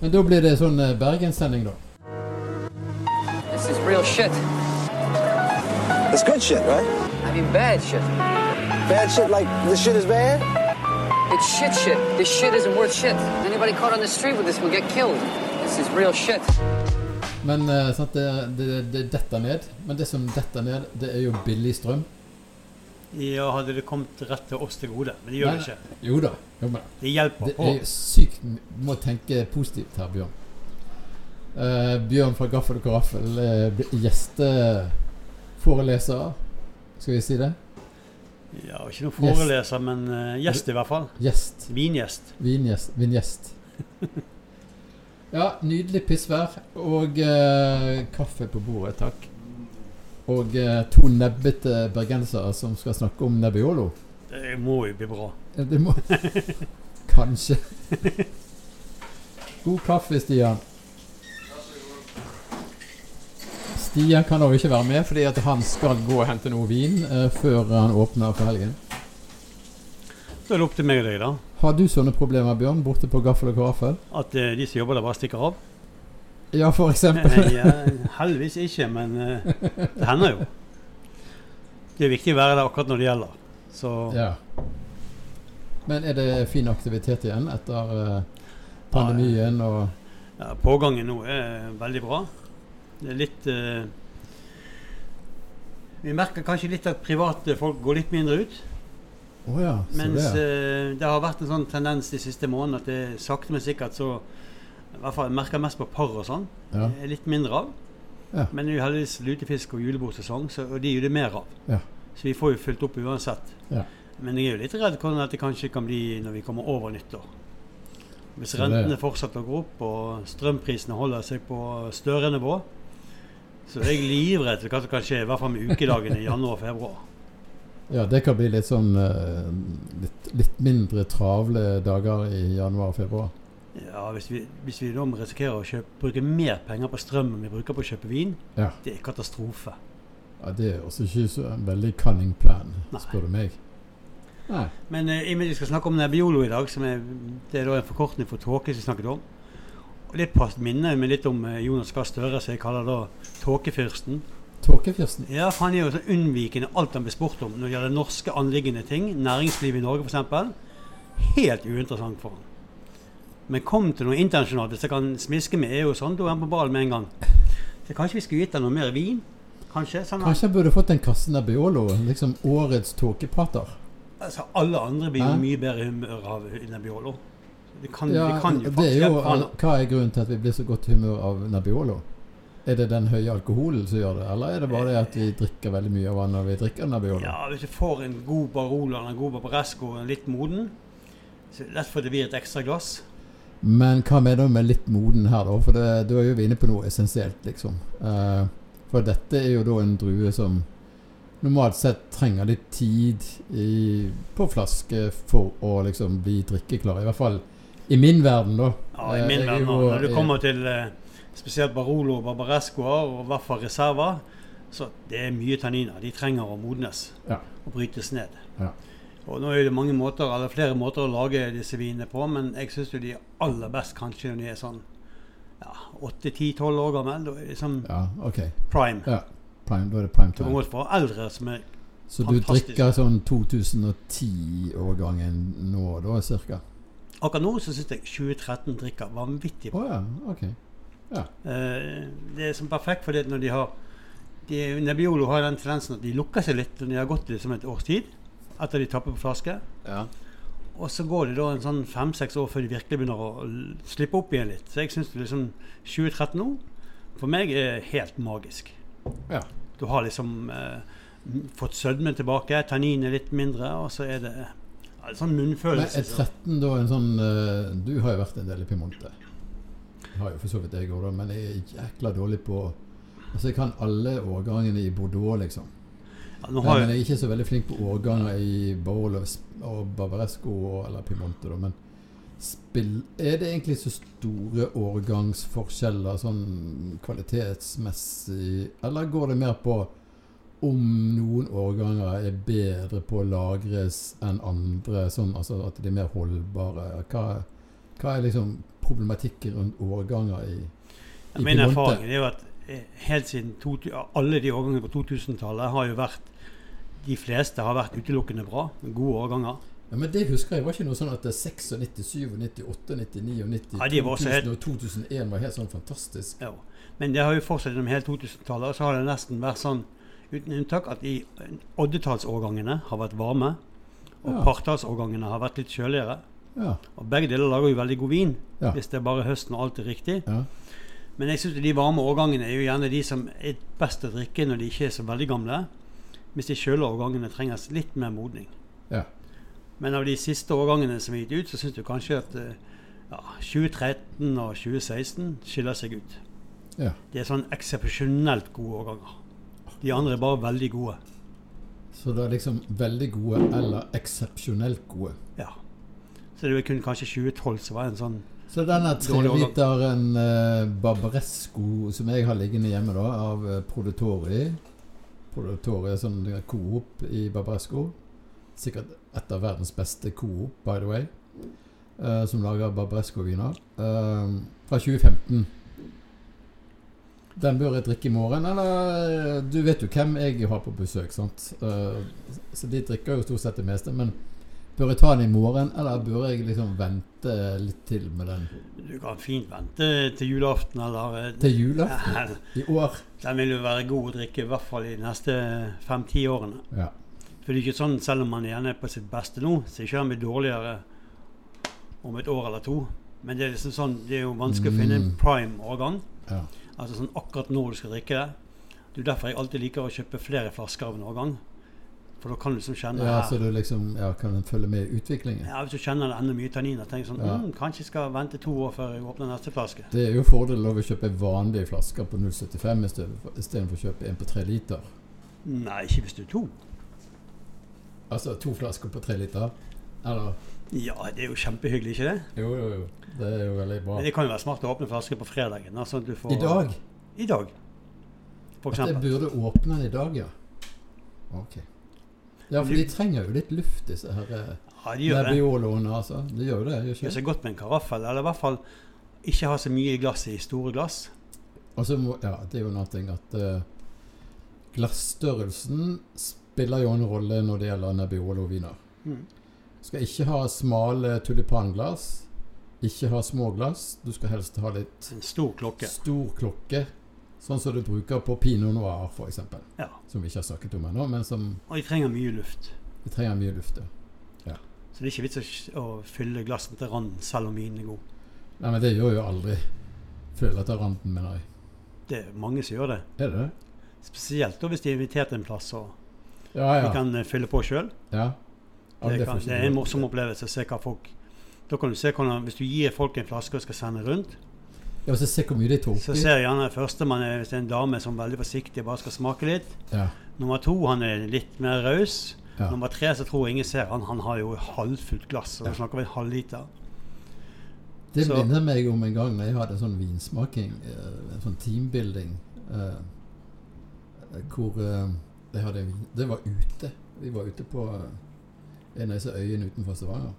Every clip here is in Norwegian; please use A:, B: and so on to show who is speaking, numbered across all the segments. A: Men da blir det sånn eh, Bergenssending, da.
B: This is real shit.
C: It's good shit, right?
B: I mean, bad shit.
C: Bad shit like this shit is bad?
B: It's shit shit. This shit isn't worth shit. Anybody caught on the street with this will get killed. This is real shit.
A: Men eh, sant, det, det, det detter ned. Men det som detter ned, det er jo billig strøm.
D: Ja, hadde det kommet rett til oss til gode. Men det gjør
A: Nei,
D: det ikke.
A: Jo da. Jo, men,
D: Det hjelper
A: det
D: på.
A: er sykt Du må tenke positivt her, Bjørn. Eh, Bjørn fra Gaffel og Karaffel eh, blir gjesteforeleser. Skal vi si det?
D: Ja, ikke noen foreleser, men eh, gjest i hvert fall.
A: Gjest.
D: Vingjest.
A: Vingjest. Vingjest. Ja, nydelig pissvær og eh, kaffe på bordet, takk. Og eh, to nebbete bergensere som skal snakke om Nebbiolo.
D: Det må jo bli bra.
A: Ja, Det må Kanskje. God kaffe, Stian. Stian kan også ikke være med, fordi at han skal gå og hente noe vin eh, før han åpner for helgen.
D: Da er det opp til meg og deg, da.
A: Har du sånne problemer, Bjørn, borte på gaffel og karaffel?
D: At eh, de som jobber der, bare stikker av.
A: Ja, for eksempel.
D: Nei, ja, heldigvis ikke, men eh, det hender jo. Det er viktig å være der akkurat når det gjelder. Så
A: Ja. Men er det fin aktivitet igjen etter eh, pandemien og
D: ja, pågangen nå er veldig bra. Det er litt eh, Vi merker kanskje litt at private folk går litt mindre ut.
A: Å ja, så
D: Mens
A: det.
D: eh, det har vært en sånn tendens de siste månedene at det sakte, men sikkert så i hvert fall jeg merker mest på par og sånn.
A: Ja.
D: eh, Litt mindre av.
A: Ja.
D: Men det er jo heldigvis lutefisk og julebordsesong, så, og de er jo det mer av.
A: Ja.
D: Så vi får jo fylt opp uansett.
A: Ja.
D: Men jeg er jo litt redd hvordan dette kanskje kan bli når vi kommer over nyttår. Hvis
A: Så det-
D: rentene fortsetter å gå opp og strømprisene holder seg på større nivå, så er jeg livredd for hva som kan skje, i hvert fall med ukedagene i januar og februar.
A: Ja, det kan bli litt sånn eh, litt, litt mindre travle dager i januar og februar.
D: Ja, hvis vi, hvis vi da må risikere å kjøpe, bruke mer penger på strøm enn vi bruker på å kjøpe vin,
A: Ja.
D: det er katastrofe.
A: ja det er også ikke så en veldig cunning plan,
D: Nei.
A: spør du meg. Nei.
D: Men eh, i og med at vi skal snakke om Nebbiolo i dag, som er, det er da en forkortning for tåke som vi snakket om. Og Det pass- minner meg litt om eh, Jonas Gahr Støre, som jeg kaller da tåkefyrsten.
A: Tåkefyrsten.
D: Ja, for Han er jo så unnvikende alt han blir spurt om når det gjelder norske anliggende ting. Næringslivet i Norge, f.eks. Helt uinteressant for han. Men kom til noe internasjonalt. Hvis jeg kan smiske med EU og sånn, da er han på ballen med en gang. Så kanskje vi skulle gitt han noe mer vin? Kanskje? Sånn at,
A: Kanskje jeg burde fått en kasse Nebbiolo? Liksom årets tåkeprater.
D: altså, alle andre blir jo
A: Hæ?
D: mye bedre i humør av Nebbiolo. Det kan,
A: Ja,
D: det Mm, kan jo
A: det
D: faktisk
A: er jo,
D: hjelpe han.
A: hva er grunnen til at vi blir så godt humør av Nebbiolo? Er det den høye alkoholen som gjør det, eller er det bare det at vi drikker veldig mye av den når vi drikker Nebbiolo?
D: Ja, hvis du får en god Barolo eller en god Barbaresco og en litt moden, så er det lett for at det blir et ekstra glass.
A: Men hva mener du med litt moden her, da? For det- da er jo vi inne på noe essensielt, liksom. Eh, for dette er jo da en drue som normalt sett trenger litt tid i, på flaske for å liksom bli drikkeklar. I hvert fall i min verden, da.
D: Ja, i
A: Eh,
D: min
A: jeg er
D: verden.
A: jo-
D: Når du
A: jeg-
D: kommer til eh, spesielt Barolo og Barbarescoer, og i hvert fall reserver, så det er mye tanniner. De trenger å modnes
A: Ja.
D: og brytes ned.
A: Ja.
D: Og nå er det mange måter, eller flere måter å lage disse vinene på, men jeg syns de er aller best kanskje når de er sånn ja, 8-10-12 år gamle. Da er de sånn
A: ja, OK.
D: prime.
A: Ja, prime, da er det prime
D: Du kan
A: time.
D: godt få eldre som er
A: Så du
D: fantastisk.
A: drikker sånn 2010-årgangen nå, da cirka?
D: Akkurat nå så syns jeg 2013 drikker vanvittig
A: Å
D: bra.
A: ja, OK.
D: Eh, det er som perfekt fordi at når de har de, Nebbiolo har den tendensen at de lukker seg litt når de har gått liksom et års tid. Etter de tapper på flaske.
A: Ja.
D: Og så går det da en sånn fem-seks år før de virkelig begynner å l- slippe opp igjen litt. Så jeg syns liksom 2013 nå for meg er helt magisk.
A: Ja.
D: Du har liksom eh, m- fått sødmen tilbake, tanninen er litt mindre, og så er det ja, en sånn
A: Men
D: munnfølelse.
A: er 13 da en sånn eh, Du har jo vært en del i Piemonte. Jeg Har jo for så vidt jeg òg, men jeg er jækla dårlig på Altså Jeg kan alle årgangene i Bordeaux, liksom.
D: ja, nå
A: Nei,
D: har,
A: men jeg er ikke så veldig flink på årganger i Barolo og Barbaresco og, eller Piemonte, da. Men spill, er det egentlig så store årgangsforskjeller sånn kvalitetsmessig, eller går det mer på om noen årganger er bedre på å lagres enn andre, sånn altså at de er mer holdbare? Hva, hva er liksom problematikk rundt årganger i
D: Ja,
A: i
D: Min
A: Piemonte.
D: erfaring er jo at eh, helt siden to, alle de årgangene på 2000-tallet har jo vært De fleste har vært utelukkende bra. Gode årganger.
A: Ja, men det husker jeg var ikke noe sånn at det er 96, 97, 98, 99 og 90,
D: Ja, de var også
A: 2000
D: helt-
A: og 2001 var helt sånn fantastisk.
D: Ja. Men det har jo fortsatt gjennom hele 2000-tallet. Og så har det nesten vært sånn, uten unntak, at i oddetallsårgangene har vært varme. Og
A: Ja.
D: partallsårgangene har vært litt kjøligere.
A: Ja,
D: Og begge deler lager jo veldig god vin,
A: Ja.
D: hvis det er bare høsten og alt er riktig.
A: ja.
D: Men jeg syns de varme årgangene er jo gjerne de som er best å drikke når de ikke er så veldig gamle. Mens de kjølige årgangene trenger litt mer modning.
A: Ja.
D: Men av de siste årgangene som er gitt ut, så syns du kanskje at eh, ja, 2013 og 2016 skiller seg ut.
A: Ja.
D: De er sånn eksepsjonelt gode årganger. De andre er bare veldig gode.
A: Så det er liksom veldig gode eller eksepsjonelt gode.
D: Ja. Så det er jo kun kanskje 2012 som var en sånn
A: Så denne
D: Dårlig årgang.
A: treliteren eh, Barbaresco som jeg har liggende hjemme, da, av eh, Produtori Produtori er sånn coop i Barbaresco. Sikkert et av verdens beste coop, by the way. Eh, som lager Barbaresco-viner. Eh, fra 2015. Den bør jeg drikke i morgen, eller eh, Du vet jo hvem jeg har på besøk, sant? Eh, så de drikker jo stort sett det meste, men bør jeg ta den i morgen, eller bør jeg liksom vente litt til med den?
D: Du kan fint vente til julaften eller eh,
A: Til julaften
D: Ja,
A: i år?
D: Den vil jo være god å drikke i hvert fall i de neste fem-ti årene.
A: Ja.
D: For det er ikke sånn, selv om man gjerne er på sitt beste nå, så er ikke han blitt dårligere om et år eller to. Men det er liksom sånn, det er jo vanskelig å finne en
A: Mm.
D: prime årgang.
A: Ja.
D: Altså sånn akkurat når du skal drikke det. Det er jo derfor jeg alltid liker å kjøpe flere flasker av en årgang. For da kan du liksom kjenne
A: ja, så du
D: her.
A: liksom ja, kan den følge med i utviklingen?
D: Ja, Hvis du kjenner det enda mye tanniner, tenker jeg sånn
A: Ja.
D: mm, Kanskje jeg skal vente to år før jeg åpner neste flaske.
A: Det er jo fordelen av å kjøpe vanlige flasker på 0,75 istedenfor å kjøpe en på tre liter.
D: Nei, ikke hvis du er to.
A: Altså to flasker på tre liter. Eller
D: Ja, det er jo kjempehyggelig, ikke det?
A: Jo, jo, jo. Det er jo veldig bra.
D: Men det kan jo være smart å åpne flasker på fredagen. da, sånn at du får,
A: I dag?
D: I dag, for
A: At jeg
D: eksempel.
A: burde åpne den i dag, ja. Ok. Ja, for de trenger jo litt luft, disse her eh,
D: Ja, de gjør det.
A: Nebbioloene, altså. De gjør jo det, gjør
D: Det er
A: ikke
D: så godt med en karaffel, eller i hvert fall ikke ha så mye i glasset i store glass.
A: Og så må Ja, det er jo en annen ting at eh, glassstørrelsen spiller jo en rolle når det gjelder Nebbiolo-viner.
D: Mm.
A: Skal ikke ha smale tulipanglass. Ikke ha små glass. Du skal helst ha litt
D: En stor klokke.
A: stor klokke. Sånn som du bruker på pinot noir, f.eks.
D: Ja.
A: Som vi ikke har snakket om ennå, men som
D: Og de trenger mye luft.
A: vi trenger mye luft til.
D: Så det er ikke vits å, sk- å fylle glassene til randen selv om vinen er god.
A: Nei, men det gjør jo aldri føler til randen, mener jeg.
D: Det er mange som gjør det.
A: Er det det?
D: Spesielt da hvis de er invitert til en plass og
A: Ja,
D: de
A: ja.
D: kan eh, fylle på sjøl.
A: ja. Ja,
D: Det,
A: det
D: kan-
A: får ikke
D: det
A: du
D: er
A: lov
D: en morsom
A: til.
D: opplevelse å se hva folk Da kan du se hvordan Hvis du gir folk en flaske og skal sende rundt,
A: Ja, og så se hvor mye de tok.
D: så ser jeg gjerne førstemann er hvis det er en dame som er veldig forsiktig og bare skal smake litt.
A: Ja.
D: Nummer to, han er litt mer raus.
A: Ja.
D: Nummer tre, så tror jeg ingen ser han. Han har jo halvfullt glass, og da snakker vi en halvliter.
A: Det
D: Så-
A: minner meg om en gang da jeg hadde en sånn vinsmaking, eh, en sånn teambuilding, eh, hvor eh, jeg hadde en vin Det var ute. Vi var ute på eh, en av disse øyene utenfor Stavanger.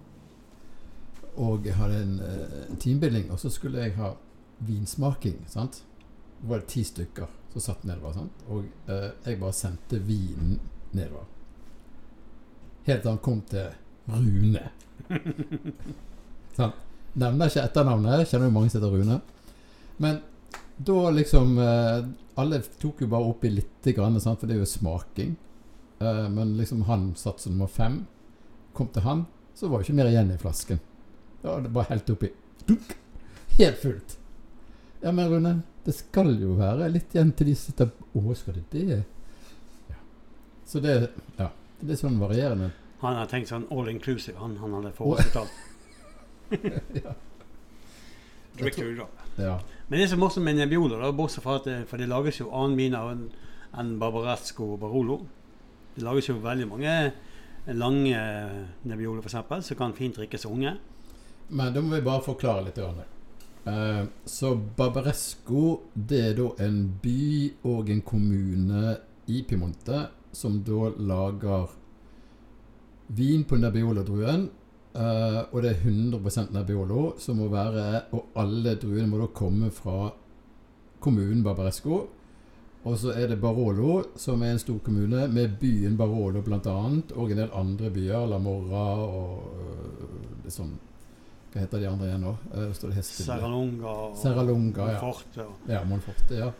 A: Og jeg hadde en, eh, en teambuilding, og så skulle jeg ha vinsmaking. sant? Det var ti stykker som satt nedover. sant? Og eh, jeg bare sendte vinen nedover. Helt til han kom til Rune. sant? Nevner ikke etternavnet. Kjenner jo mange som heter Rune. Men da liksom eh, Alle tok jo bare oppi lite grann, sant? for det er jo smaking. Eh, men liksom han satt som nummer fem. Kom til han, så var jo ikke mer igjen i flasken. Da var det bare helt oppi. Dunk! Helt fullt. Ja, men Rune, det skal jo være litt igjen til de sitter Å, skal det det? Ja. Så det Ja. Det er sånn varierende.
D: Han har tenkt sånn all inclusive, han, han hadde forutsatt alt. Drikk til da.
A: Ja.
D: Men det som er morsomt med Nebbiolo, da, bortsett fra at det, for det lages jo annen vin av en- enn Barbaresco og Barolo. Det lages jo veldig mange lange Nebbiolo, f.eks., som kan fint drikkes av unge.
A: Men da må vi bare forklare litt. Grann. Eh, så Barbaresco det er da en by og en kommune i Piemonte som da lager vin på Nebbiolo-druen Eh, og det er 100 Nebbiolo som må være Og alle druene må da komme fra kommunen Barbaresco. Og så er det Barolo, som er en stor kommune, med byen Barolo bl.a. Og en del andre byer. La Morra og øh, litt sånn Hva heter de andre igjen nå? Eh, står det helt stille?
D: Serralonga og
A: Serralonga, ja.
D: Forte og
A: Ja, Monforte, ja.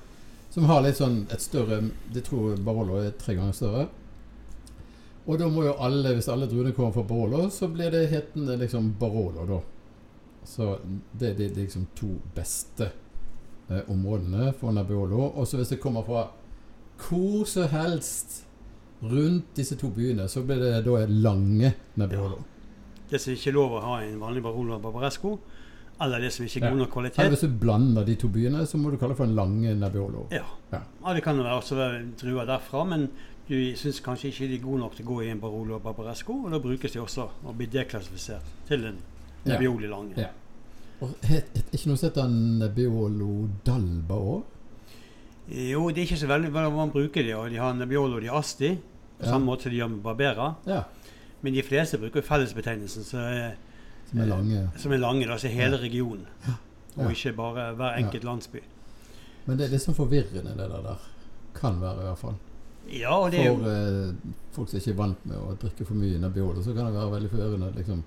A: Som har litt sånn et større De tror Barolo er tre ganger større. Og da må jo alle, hvis alle druene kommer fra Barolo, så blir det hetende liksom Barolo, da. Så det er de liksom to beste eh, områdene for Nebbiolo. Og så hvis det kommer fra hvor som helst rundt disse to byene, så blir det da lange Nebbiolo.
D: Det som ikke er lov å ha i en vanlig Barolo Barbaresco, eller det som ikke er
A: Ja.
D: god nok
A: Eller
D: kvalitet.
A: hvis du blander de to byene, så må du kalle det for en lange Nebbiolo.
D: Ja.
A: Ja.
D: ja, det kan jo være også være druer derfra, men du syns kanskje ikke de er gode nok til å gå i en Barolo Barbaresco, og da brukes de også og blir deklassifisert til en
A: Ja.
D: Nebbioli Lange.
A: Ja. Og het, het ikke noe som heter Nebbiolo Dalba òg?
D: Jo, det er ikke så veldig hva man bruker de, og de har Nebbiolo de Asti, på
A: Ja.
D: samme måte de gjør med Barbera,
A: Ja.
D: men de fleste bruker fellesbetegnelsen, så er
A: Som er lange.
D: Som er lange, altså hele regionen.
A: Ja.
D: Og ikke bare hver enkelt landsby.
A: Men det er litt sånn forvirrende, det der. der. Kan være, i hvert fall.
D: Ja, og det er
A: For
D: jo
A: eh, folk som ikke er vant med å drikke for mye Nebbiolo, så kan det være veldig forvirrende. Liksom.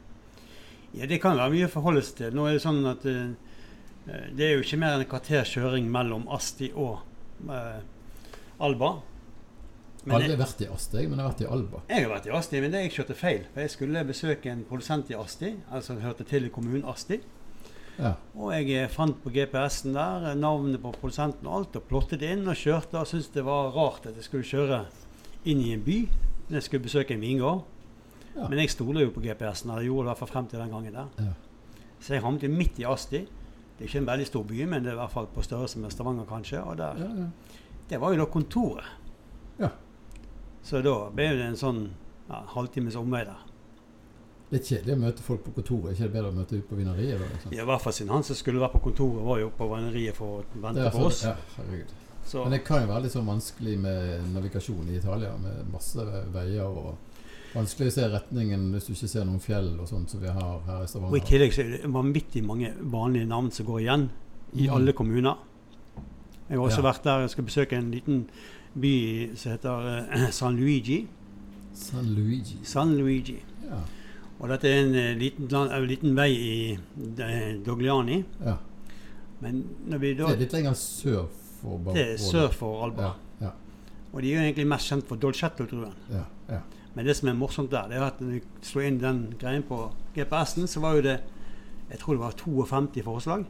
D: Ja, det kan være mye å forholde seg til. Nå er det sånn at eh, eh, det er jo ikke mer enn et kvarters kjøring mellom Asti og eh, Alba.
A: Jeg har
D: Men jeg,
A: aldri vært i Asteg, men jeg har vært i Alba.
D: jeg har vært i Asti, men det jeg kjørte feil. For jeg skulle besøke en produsent i Asti, altså den hørte til i kommunen Asti.
A: Ja.
D: Og jeg eh, fant på GPS-en der eh, navnet på produsenten og alt, og plottet det inn og kjørte. Og syntes det var rart at jeg skulle kjøre inn i en by når jeg skulle besøke en vingård.
A: Ja.
D: Men jeg stoler jo på GPS-en, eller gjorde det i hvert fall frem til den gangen der.
A: Ja.
D: Så jeg havnet jo midt i Asti. Det er ikke en veldig stor by, men det er i hvert fall på størrelse med Stavanger, kanskje. Og der,
A: Ja, ja.
D: det var jo da kontoret.
A: Ja.
D: Så da ble det en sånn ja, halvtimes omvei der.
A: Litt kjedelig å møte folk på kontoret. Ikke det bedre å møte ut på vineriet? Da, liksom?
D: I hvert fall siden han som skulle være på kontoret, var jo på vaneriet for å
A: Det
D: vente
A: er
D: på oss.
A: altså- ja, herregud.
D: Så,
A: Men det kan jo være litt sånn vanskelig med navigasjon i Italia, med masse veier og Vanskelig å se retningen hvis du ikke ser noen fjell og sånt som vi har her i
D: og i
A: Stavanger.
D: tillegg så er det vanvittig mange vanlige navn som går igjen i
A: Mm.
D: alle kommuner. Jeg har også
A: Ja.
D: vært der og skal besøke en liten by som heter eh, San Luigi.
A: San Luigi.
D: San Luigi.
A: Ja.
D: Og dette er en eh, liten, land- eh, liten vei i eh, Dogliani.
A: ja.
D: Men når vi
A: Det
D: da
A: er litt lenger sør for Bar-
D: Det er sør for
A: Ja,
D: Alba.
A: ja,
D: Og de er jo egentlig mest kjent for Dolcetto-druen.
A: ja, ja.
D: Men det som er morsomt der, det er at når vi slo inn den greien på GPS-en, så var jo det Jeg tror det var 52 forslag.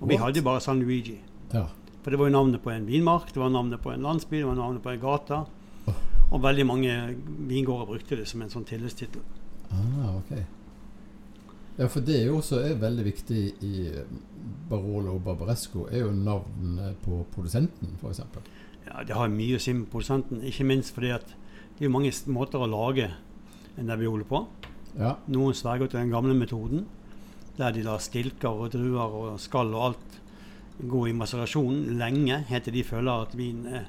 D: Og vi
A: What?
D: hadde jo bare San Luigi.
A: ja.
D: For det var jo navnet på en vinmark, det var navnet på en landsby, det var navnet på en gate. Og veldig mange vingårder brukte det som en sånn tilleggstittel.
A: Ah, ok. Ja, for det er jo også er veldig viktig i eh, Barolo og Barbaresco, er jo navnet på produsenten, f.eks.
D: Ja, det har mye å si med produsenten, ikke minst fordi at det er jo mange s- måter å lage en nebbiolo på.
A: Ja.
D: Noen sverger til den gamle metoden, der de lar stilker og druer og skall og alt gå i maserasjon lenge, helt til de føler at vinen er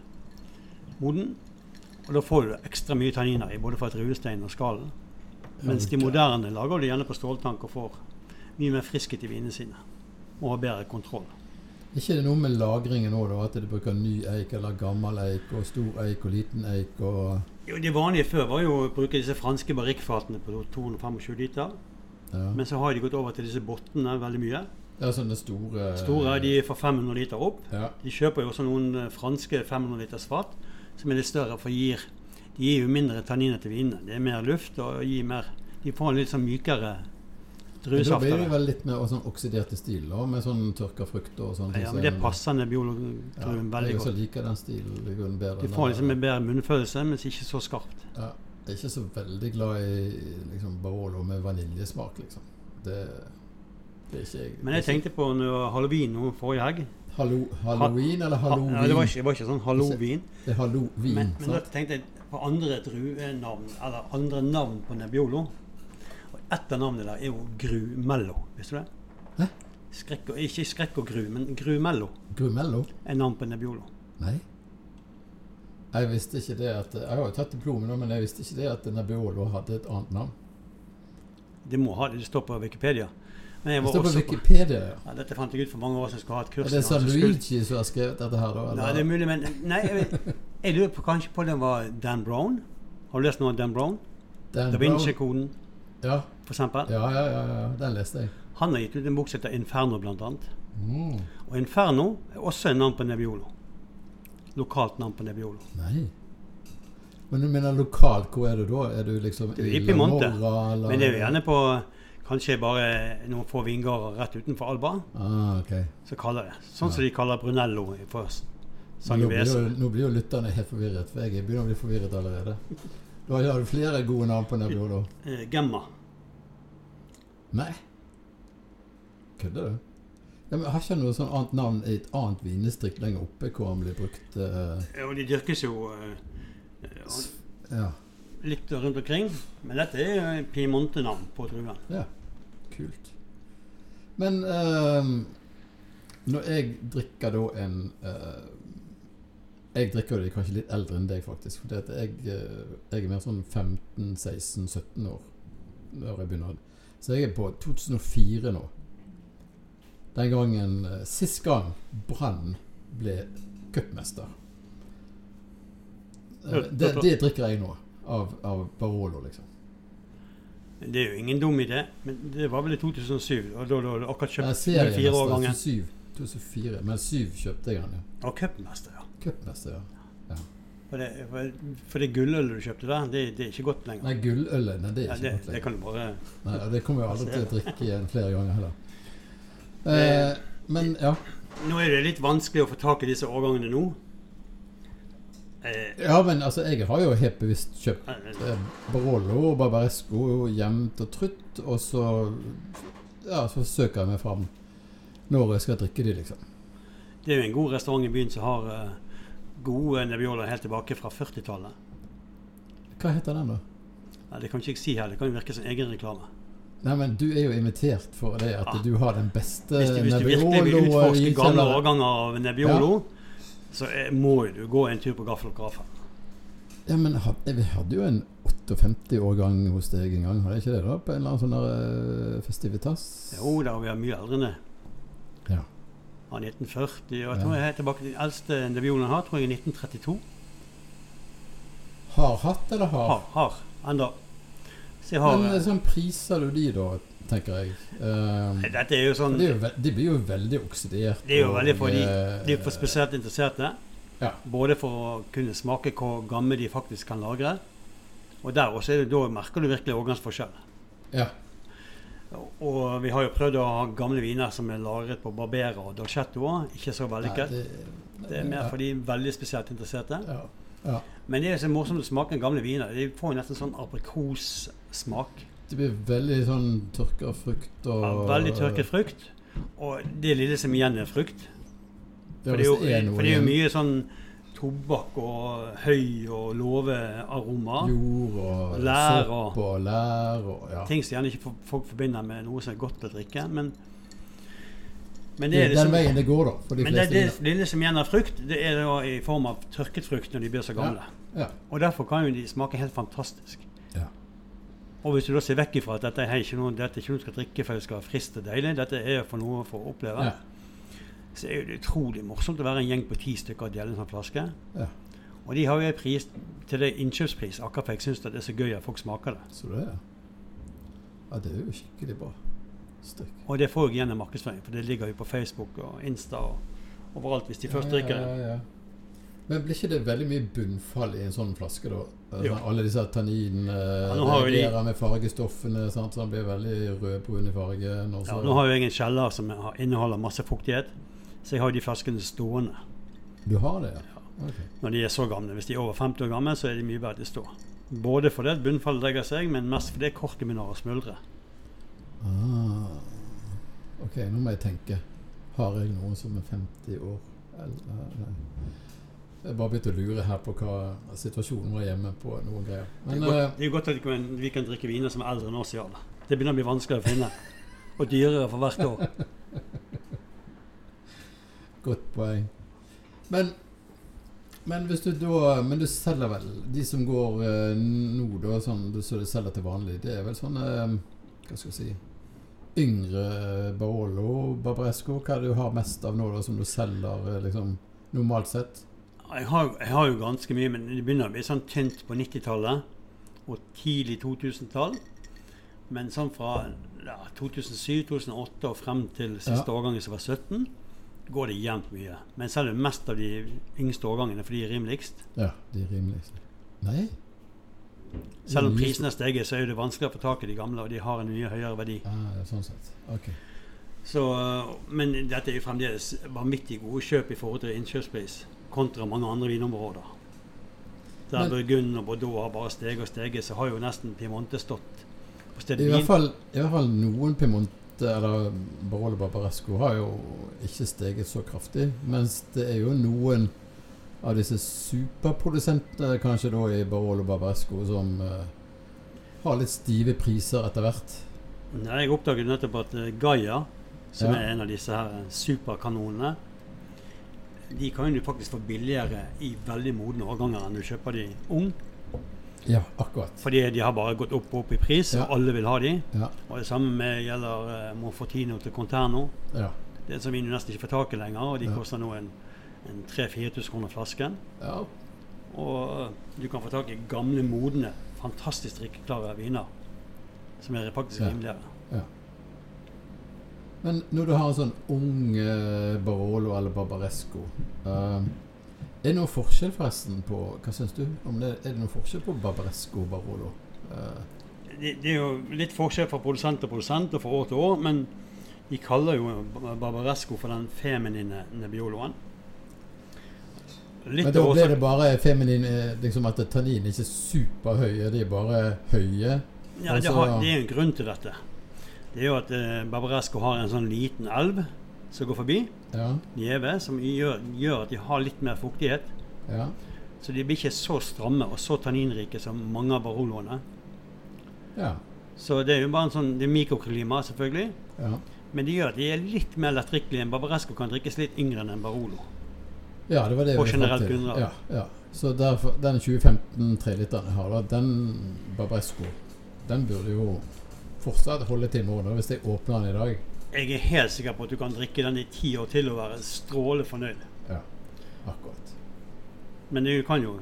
D: moden. Og da får du ekstra mye tanniner i både fra druesteinen og skallen. Mens de moderne lager du gjerne på ståltank og får mye mer friskhet i vinene sine. Og har bedre kontroll.
A: Ikke det noe med lagringen òg, at de bruker ny eik eller gammel eik og stor eik og liten eik og
D: Jo, det vanlige før var jo å bruke disse franske barrikkfatene på 225 liter.
A: Ja,
D: Men så har de gått over til disse bottene veldig mye.
A: ja sånne store
D: Store de er fra 500 liter opp.
A: Ja,
D: De kjøper jo også noen eh, franske 500 liters fat som er litt større, for gir, de gir jo mindre tanniner til vinene. Det er mer luft og gir mer De får en litt sånn mykere
A: Men Da blir det
D: druesafter.
A: vel litt mer sånn oksidert i stil, da, med sånn tørka frukt og sånne
D: Ja, men det passer
A: sånn- Ja,
D: nebbiolodruen veldig
A: jeg også
D: godt.
A: liker den stilen i grunnen bedre.
D: Du
A: enn
D: får
A: den
D: liksom
A: der.
D: en bedre munnfølelse, men ikke så skarpt.
A: ja, jeg er ikke så veldig glad i liksom, Barolo med vaniljesmak, liksom. Det, det er ikke jeg.
D: Men jeg tenkte på når halloween nå forrige helg.
A: Hallo, Halloween eller halloween?
D: Ja, det, var ikke, det var ikke sånn halloween.
A: Det er halloween,
D: Men, men da
A: sant?
D: tenkte jeg på andre druenavn, eller andre navn på Nebbiolo. Og ett av navnene der er jo Grumello. Visste du det?
A: Hæ?
D: Skrekk og, ikke Skrekk og Gru, men Grumello
A: Grumello?
D: er navn på Nebbiolo.
A: Nei. Jeg visste ikke det at Jeg har jo tatt diplomet nå, men jeg visste ikke det at Nebbiolo hadde et annet navn.
D: Det må ha det, det står på Wikipedia. Men jeg
A: Det
D: var
A: står på
D: også på,
A: Wikipedia. ja.
D: ja, dette fant jeg ut for mange år siden. jeg skulle ha et kurs.
A: Er
D: i
A: det
D: noe som skulle-
A: Saluigi som har skrevet dette her, da?
D: Nei, det er
A: eller?
D: mulig, men Nei, jeg, vet- jeg lurer på kanskje på den var Dan Brown. Har du lest noe om Dan Brown?
A: Dan
D: Da
A: Brown?
D: Vinci-koden,
A: Ja.
D: for eksempel.
A: Ja, ja, ja, ja. Den leste jeg.
D: Han har gitt ut en bok som heter Inferno, blant annet.
A: Mm.
D: Og Inferno er også et navn på Nebbiolo. Lokalt navn på Nebbiolo.
A: Nei. Men du mener lokalt, hvor er du da? Er du liksom
D: Det er
A: i
D: i Piemonte.
A: Lamorra, eller-
D: Men det er jo gjerne på kanskje bare noen få vingårder rett utenfor Alba.
A: Ah, ok.
D: Så kaller det. Sånn som de kaller Brunello for s-
A: Nå blir, jo,
D: Sangiovese.
A: nå blir jo lytterne helt forvirret, for jeg begynner å bli forvirret allerede. Da har du flere gode navn på Nebbiolo.
D: Eh, Gemma.
A: Nei. Kødder du? Ja, men Har ikke han noe sånn annet navn i et annet vindistrikt lenger oppe hvor han blir brukt eh,
D: Ja, Og de dyrkes jo eh, eh,
A: Ja.
D: litt rundt omkring. Men dette er jo en Piemonte-navn på druen.
A: Ja, kult. Men ehm, når jeg drikker da en eh, Jeg drikker jo de kanskje litt eldre enn deg, faktisk. For jeg, eh, jeg er mer sånn 15-16-17 år når jeg begynner. Så jeg er på 2004 nå. Den gangen eh, Sist gang Brann ble cupmester. Eh, Det, det drikker jeg nå. Av, av Barolo, liksom.
D: Det er jo ingen dum idé, men det var vel i 2007. Og da da hadde du akkurat
A: Nei,
D: kjøpt
A: serien
D: fire år
A: nesten,
D: gangen.
A: 2007. 2004. Men 7 kjøpte jeg den, ja.
D: Og cupmester, ja.
A: Cupmester, ja.
D: For det, for, for det gullølet du kjøpte der, det, det er ikke godt lenger.
A: Nei, gullølet. Nei, det er
D: Ja,
A: ikke
D: det,
A: godt
D: det
A: lenger.
D: kan du bare
A: Nei, og det kommer jeg aldri til å drikke igjen flere ganger heller.
D: Eh,
A: Eh, men ja.
D: Nå er det litt vanskelig å få tak i disse årgangene nå. Eh,
A: ja, men altså, jeg har jo helt bevisst kjøpt eh, Barolo og Barbaresco jevnt og trutt, og så ja, så søker jeg meg fram når jeg skal drikke de, liksom.
D: det er jo en god restaurant i byen som har eh, gode nebbioler helt tilbake fra 40-tallet.
A: Hva heter den, da?
D: Ja, det kan ikke jeg si her, det kan jo virke som egen reklame.
A: Nei, men Du er jo invitert for det at
D: Ah.
A: du har den beste
D: Hvis du, hvis du virkelig vil
A: Nebbiolo i
D: utforske gamle
A: kjelleren.
D: årganger av nebbiolo, så eh, må jo du gå en tur på gaffelgrafen.
A: Ja, men had- Vi hadde jo en 58-årgang hos deg en gang, hadde jeg ikke det? da? På en eller annen sånn der, eh, festivitas?
D: Jo da, vi er mye eldre enn det.
A: Ja.
D: Av 1940. Og jeg tror jeg er helt tilbake til den eldste nebbiolen jeg har, tror jeg er 1932.
A: Har hatt eller har?
D: Har. har. Enda. Så jeg har
A: Men eh,
D: eh,
A: sånn priser du de, da, tenker jeg. Eh,
D: Dette er jo sånn
A: det er jo ve de blir jo veldig oksidert.
D: Det er jo
A: og,
D: veldig for de,
A: eh,
D: de er for spesielt interesserte.
A: Ja.
D: Både for å kunne smake hvor gamle de faktisk kan lagre. Og der også er det, da merker du virkelig årgangsforskjell.
A: Ja.
D: Og vi har jo prøvd å ha gamle viner som er lagret på Barbera og Dolcetto. også. Ikke så
A: Nei,
D: vellykket.
A: det,
D: Det er mer for de veldig spesielt interesserte.
A: ja,
D: Men det er så morsomt å smake gamle viner. De får jo nesten sånn aprikossmak.
A: Det blir veldig sånn tørka frukt og
D: Av Veldig tørket frukt. Og det lille som igjen er frukt.
A: Ja,
D: For det,
A: hvis
D: er jo,
A: er noe
D: for det er jo
A: igjen,
D: mye sånn tobakk og høy og låvearoma.
A: Jord og
D: Lær og-
A: sopp og lær og ja.
D: Ting som gjerne ikke fo- folk forbinder med noe som er godt å drikke. Men, men
A: Det
D: det
A: er
D: er
A: den
D: liksom,
A: veien det går, da. For de
D: men det,
A: fleste
D: det
A: viner.
D: lille som igjen er frukt, det er da i form av tørket frukt når de blir så gamle.
A: Ja.
D: Og derfor kan jo de smake helt fantastisk.
A: Ja.
D: Og hvis du da ser vekk ifra at dette er ikke noe, dette er ikke noe du skal drikke for det skal være friskt og deilig, dette er for noe for å oppleve,
A: Ja.
D: så er jo det utrolig morsomt å være en gjeng på ti stykker og dele en sånn flaske.
A: Ja.
D: Og de har jo en pris til det innkjøpspris, akkurat for jeg syns det er så gøy at folk smaker det.
A: Så det er Ja, det er jo skikkelig bra stykk.
D: Og det får jeg igjen i markedsføring, for det ligger jo på Facebook og Insta og overalt hvis de først drikker
A: Ja,
D: det.
A: ja, ja. Men blir ikke det veldig mye bunnfall i en sånn flaske, da? Eh,
D: Jo.
A: sånn Alle disse tanninene
D: Ja,
A: ja,
D: nå har jo de-
A: reagerer med fargestoffene, sant? så han blir veldig rødbrun i fargen. Og
D: Ja,
A: så,
D: nå har jo jeg en kjeller som har- inneholder masse fuktighet, så jeg har jo de flaskene stående
A: Du har det, ja? Ok.
D: når de er så gamle. Hvis de er over 50 år gamle, så er de mye verdt å stå. Både fordi at bunnfallet legger seg, men mest fordi korken begynner å smuldre.
A: Ah. ok, nå må jeg tenke. Har jeg noen som er 50 år? Eller, eh, nei. Jeg bare begynte å lure her på hva situasjonen var hjemme på noen greier. Men eh,
D: Godt- Det er jo godt at vi kan- vi kan drikke viner som er eldre enn oss, Jarle. Det begynner å bli vanskelig å finne. Og dyrere for hvert år.
A: Godt poeng. Men, men hvis du da Men du selger vel De som går eh, nå, da, sånn du- så du selger til vanlig, det er vel sånne eh, Hva skal jeg si Yngre eh, Barolo Barbaresco, hva er det du har mest av nå, da, som du selger eh, liksom normalt sett?
D: Jeg har, jeg har jo ganske mye, men det begynner å bli sånn tynt på 90-tallet og tidlig 2000-tall. Men sånn fra ja, 2007-2008 og frem til siste
A: Ja.
D: årgangen som var 17, går det jevnt mye. Men jeg selger mest av de yngste årgangene, for de er rimeligst.
A: Ja, de rimeligste. Nei?
D: Selv om
A: Mye-
D: prisene har steget, så er det vanskelig å få tak i de gamle, og de har en mye høyere verdi.
A: Ah, ja, sånn sett. Ok.
D: Så, øh, men dette er jo fremdeles vanvittig gode kjøp i forhold til innkjøpspris kontra mange andre vinområder. Der
A: Men-
D: Burgund og Bordeaux har bare steget og steget, så har jo nesten Piemonte stått på stedet
A: I hvert
D: hvil.
A: fall, i hvert fall noen Piemonte eller Barolo Barbaresco har jo ikke steget så kraftig, mens det er jo noen av disse superprodusentene, kanskje da i Barolo Barbaresco, som eh, har litt stive priser etter hvert.
D: Nei, Jeg oppdaget nettopp at eh, Gaia, som
A: Ja.
D: er en av disse her eh, superkanonene, de kan du faktisk få billigere i veldig modne årganger enn du kjøper de ung.
A: Ja, akkurat.
D: Fordi de har bare gått opp og opp i pris,
A: Ja.
D: og alle vil ha de.
A: Ja,
D: Og det samme med gjelder eh, Monfortino til Conterno.
A: ja,
D: Det som vi nå nesten ikke får tak i lenger, og de
A: Ja.
D: koster nå en, en 3000-4000 kroner flasken.
A: ja.
D: Og eh, du kan få tak i gamle, modne, fantastisk drikkeklare viner. Som er faktisk
A: Ja.
D: rimeligere.
A: Men når du har en sånn ung eh, Barolo eller Barbaresco eh, Er det noen forskjell forresten på Hva syns du? Om det, er det noen forskjell på Barbaresco og Barolo? Eh,
D: Det, det er jo litt forskjell fra produsent til produsent og fra år til år, men de kaller jo Bar- Barbaresco for den feminine Nebbioloen. Litt
A: Men da
D: av
A: blir
D: årsak-
A: det bare feminin eh, liksom At tannin ikke er superhøye, de er bare høye.
D: Ja, det,
A: Altså-
D: har, det er en grunn til dette. Det er jo at eh, Barbaresco har en sånn liten elv som går forbi,
A: Ja,
D: Nieve, som gjør, gjør at de har litt mer fuktighet.
A: ja,
D: Så de blir ikke så stramme og så tanninrike som mange av Baroloene.
A: ja,
D: Så det er jo bare en sånn, det er mikroklima, selvfølgelig.
A: ja.
D: Men det gjør at de er litt mer lettdrikkelige. En Barbaresco kan drikkes litt yngre enn en Barolo.
A: ja det var det
D: Og
A: vi fant
D: generelt
A: til.
D: grunnlag.
A: Ja, ja. Så derfor, den 2015 treliteren jeg har, da, den Barbaresco, den burde jo fortsatt holde til i morgen da, hvis jeg åpner den i dag.
D: Jeg er helt sikker på at du kan drikke den i ti år til og være strålende fornøyd.
A: Ja, akkurat.
D: Men du kan jo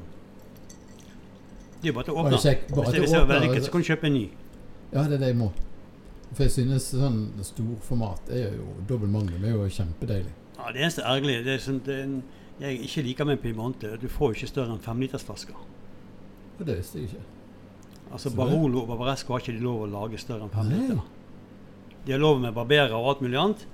D: Det er jo bare til å
A: Bare
D: åpne.
A: kjekk, bare
D: Hvis det
A: til å
D: hvis det er
A: åpne,
D: vellykket,
A: det-
D: så kan du kjøpe en ny.
A: Ja, det er det jeg må. For jeg synes sånn storformat er jo Dobbel magnum er jo kjempedeilig.
D: Ja, det eneste ergerlige det er sånn, det er en- jeg ikke liker med Piemonte, er at du får jo ikke større enn femlitersflasker.
A: Og det visste jeg ikke. Så
D: Altså
A: det-
D: Barolo og Barbaresco har ikke de lov å lage større enn fem
A: Nei.
D: liter. De har lov med barberer og alt mulig annet,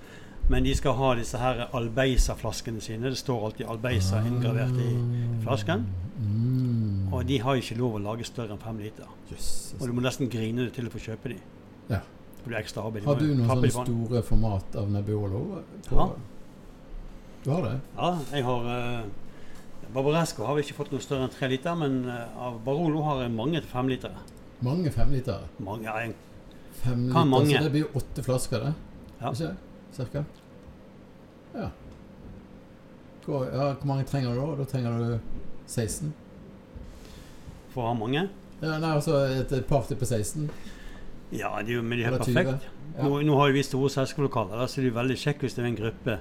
D: men de skal ha disse her Albeisa-flaskene sine. Det står alltid Albeisa inngravert i flasken.
A: Ah. Mm.
D: Og de har ikke lov å lage større enn fem liter.
A: Jøsses.
D: Og du må nesten grine deg til å få kjøpe de.
A: Ja.
D: For det er ekstra arbeid.
A: Har du
D: må jo
A: noen
D: tappe
A: sånne
D: i vann.
A: store format av Nebbiolo? på-
D: Ja.
A: Du har det?
D: Ja, jeg har eh, Barbaresco har vi ikke fått noe større enn tre liter, men eh, av Barolo har jeg mange til fem liter.
A: Mange femlitere?
D: Mange, ja, jeg-
A: Fem
D: Hva er
A: liter,
D: mange?
A: Så det blir jo åtte flasker, det?
D: Ja.
A: Ikke? Cirka? Ja. Hvor, ja. Hvor mange trenger du da? Da trenger du 16?
D: for å ha mange.
A: Ja, nei, altså et party på 16?
D: Ja, det er jo, men det er
A: Eller
D: helt
A: 20?
D: perfekt.
A: Ja.
D: Nå, nå har jo vi store selskapslokaler, da, så det er jo veldig kjekt hvis det er en gruppe.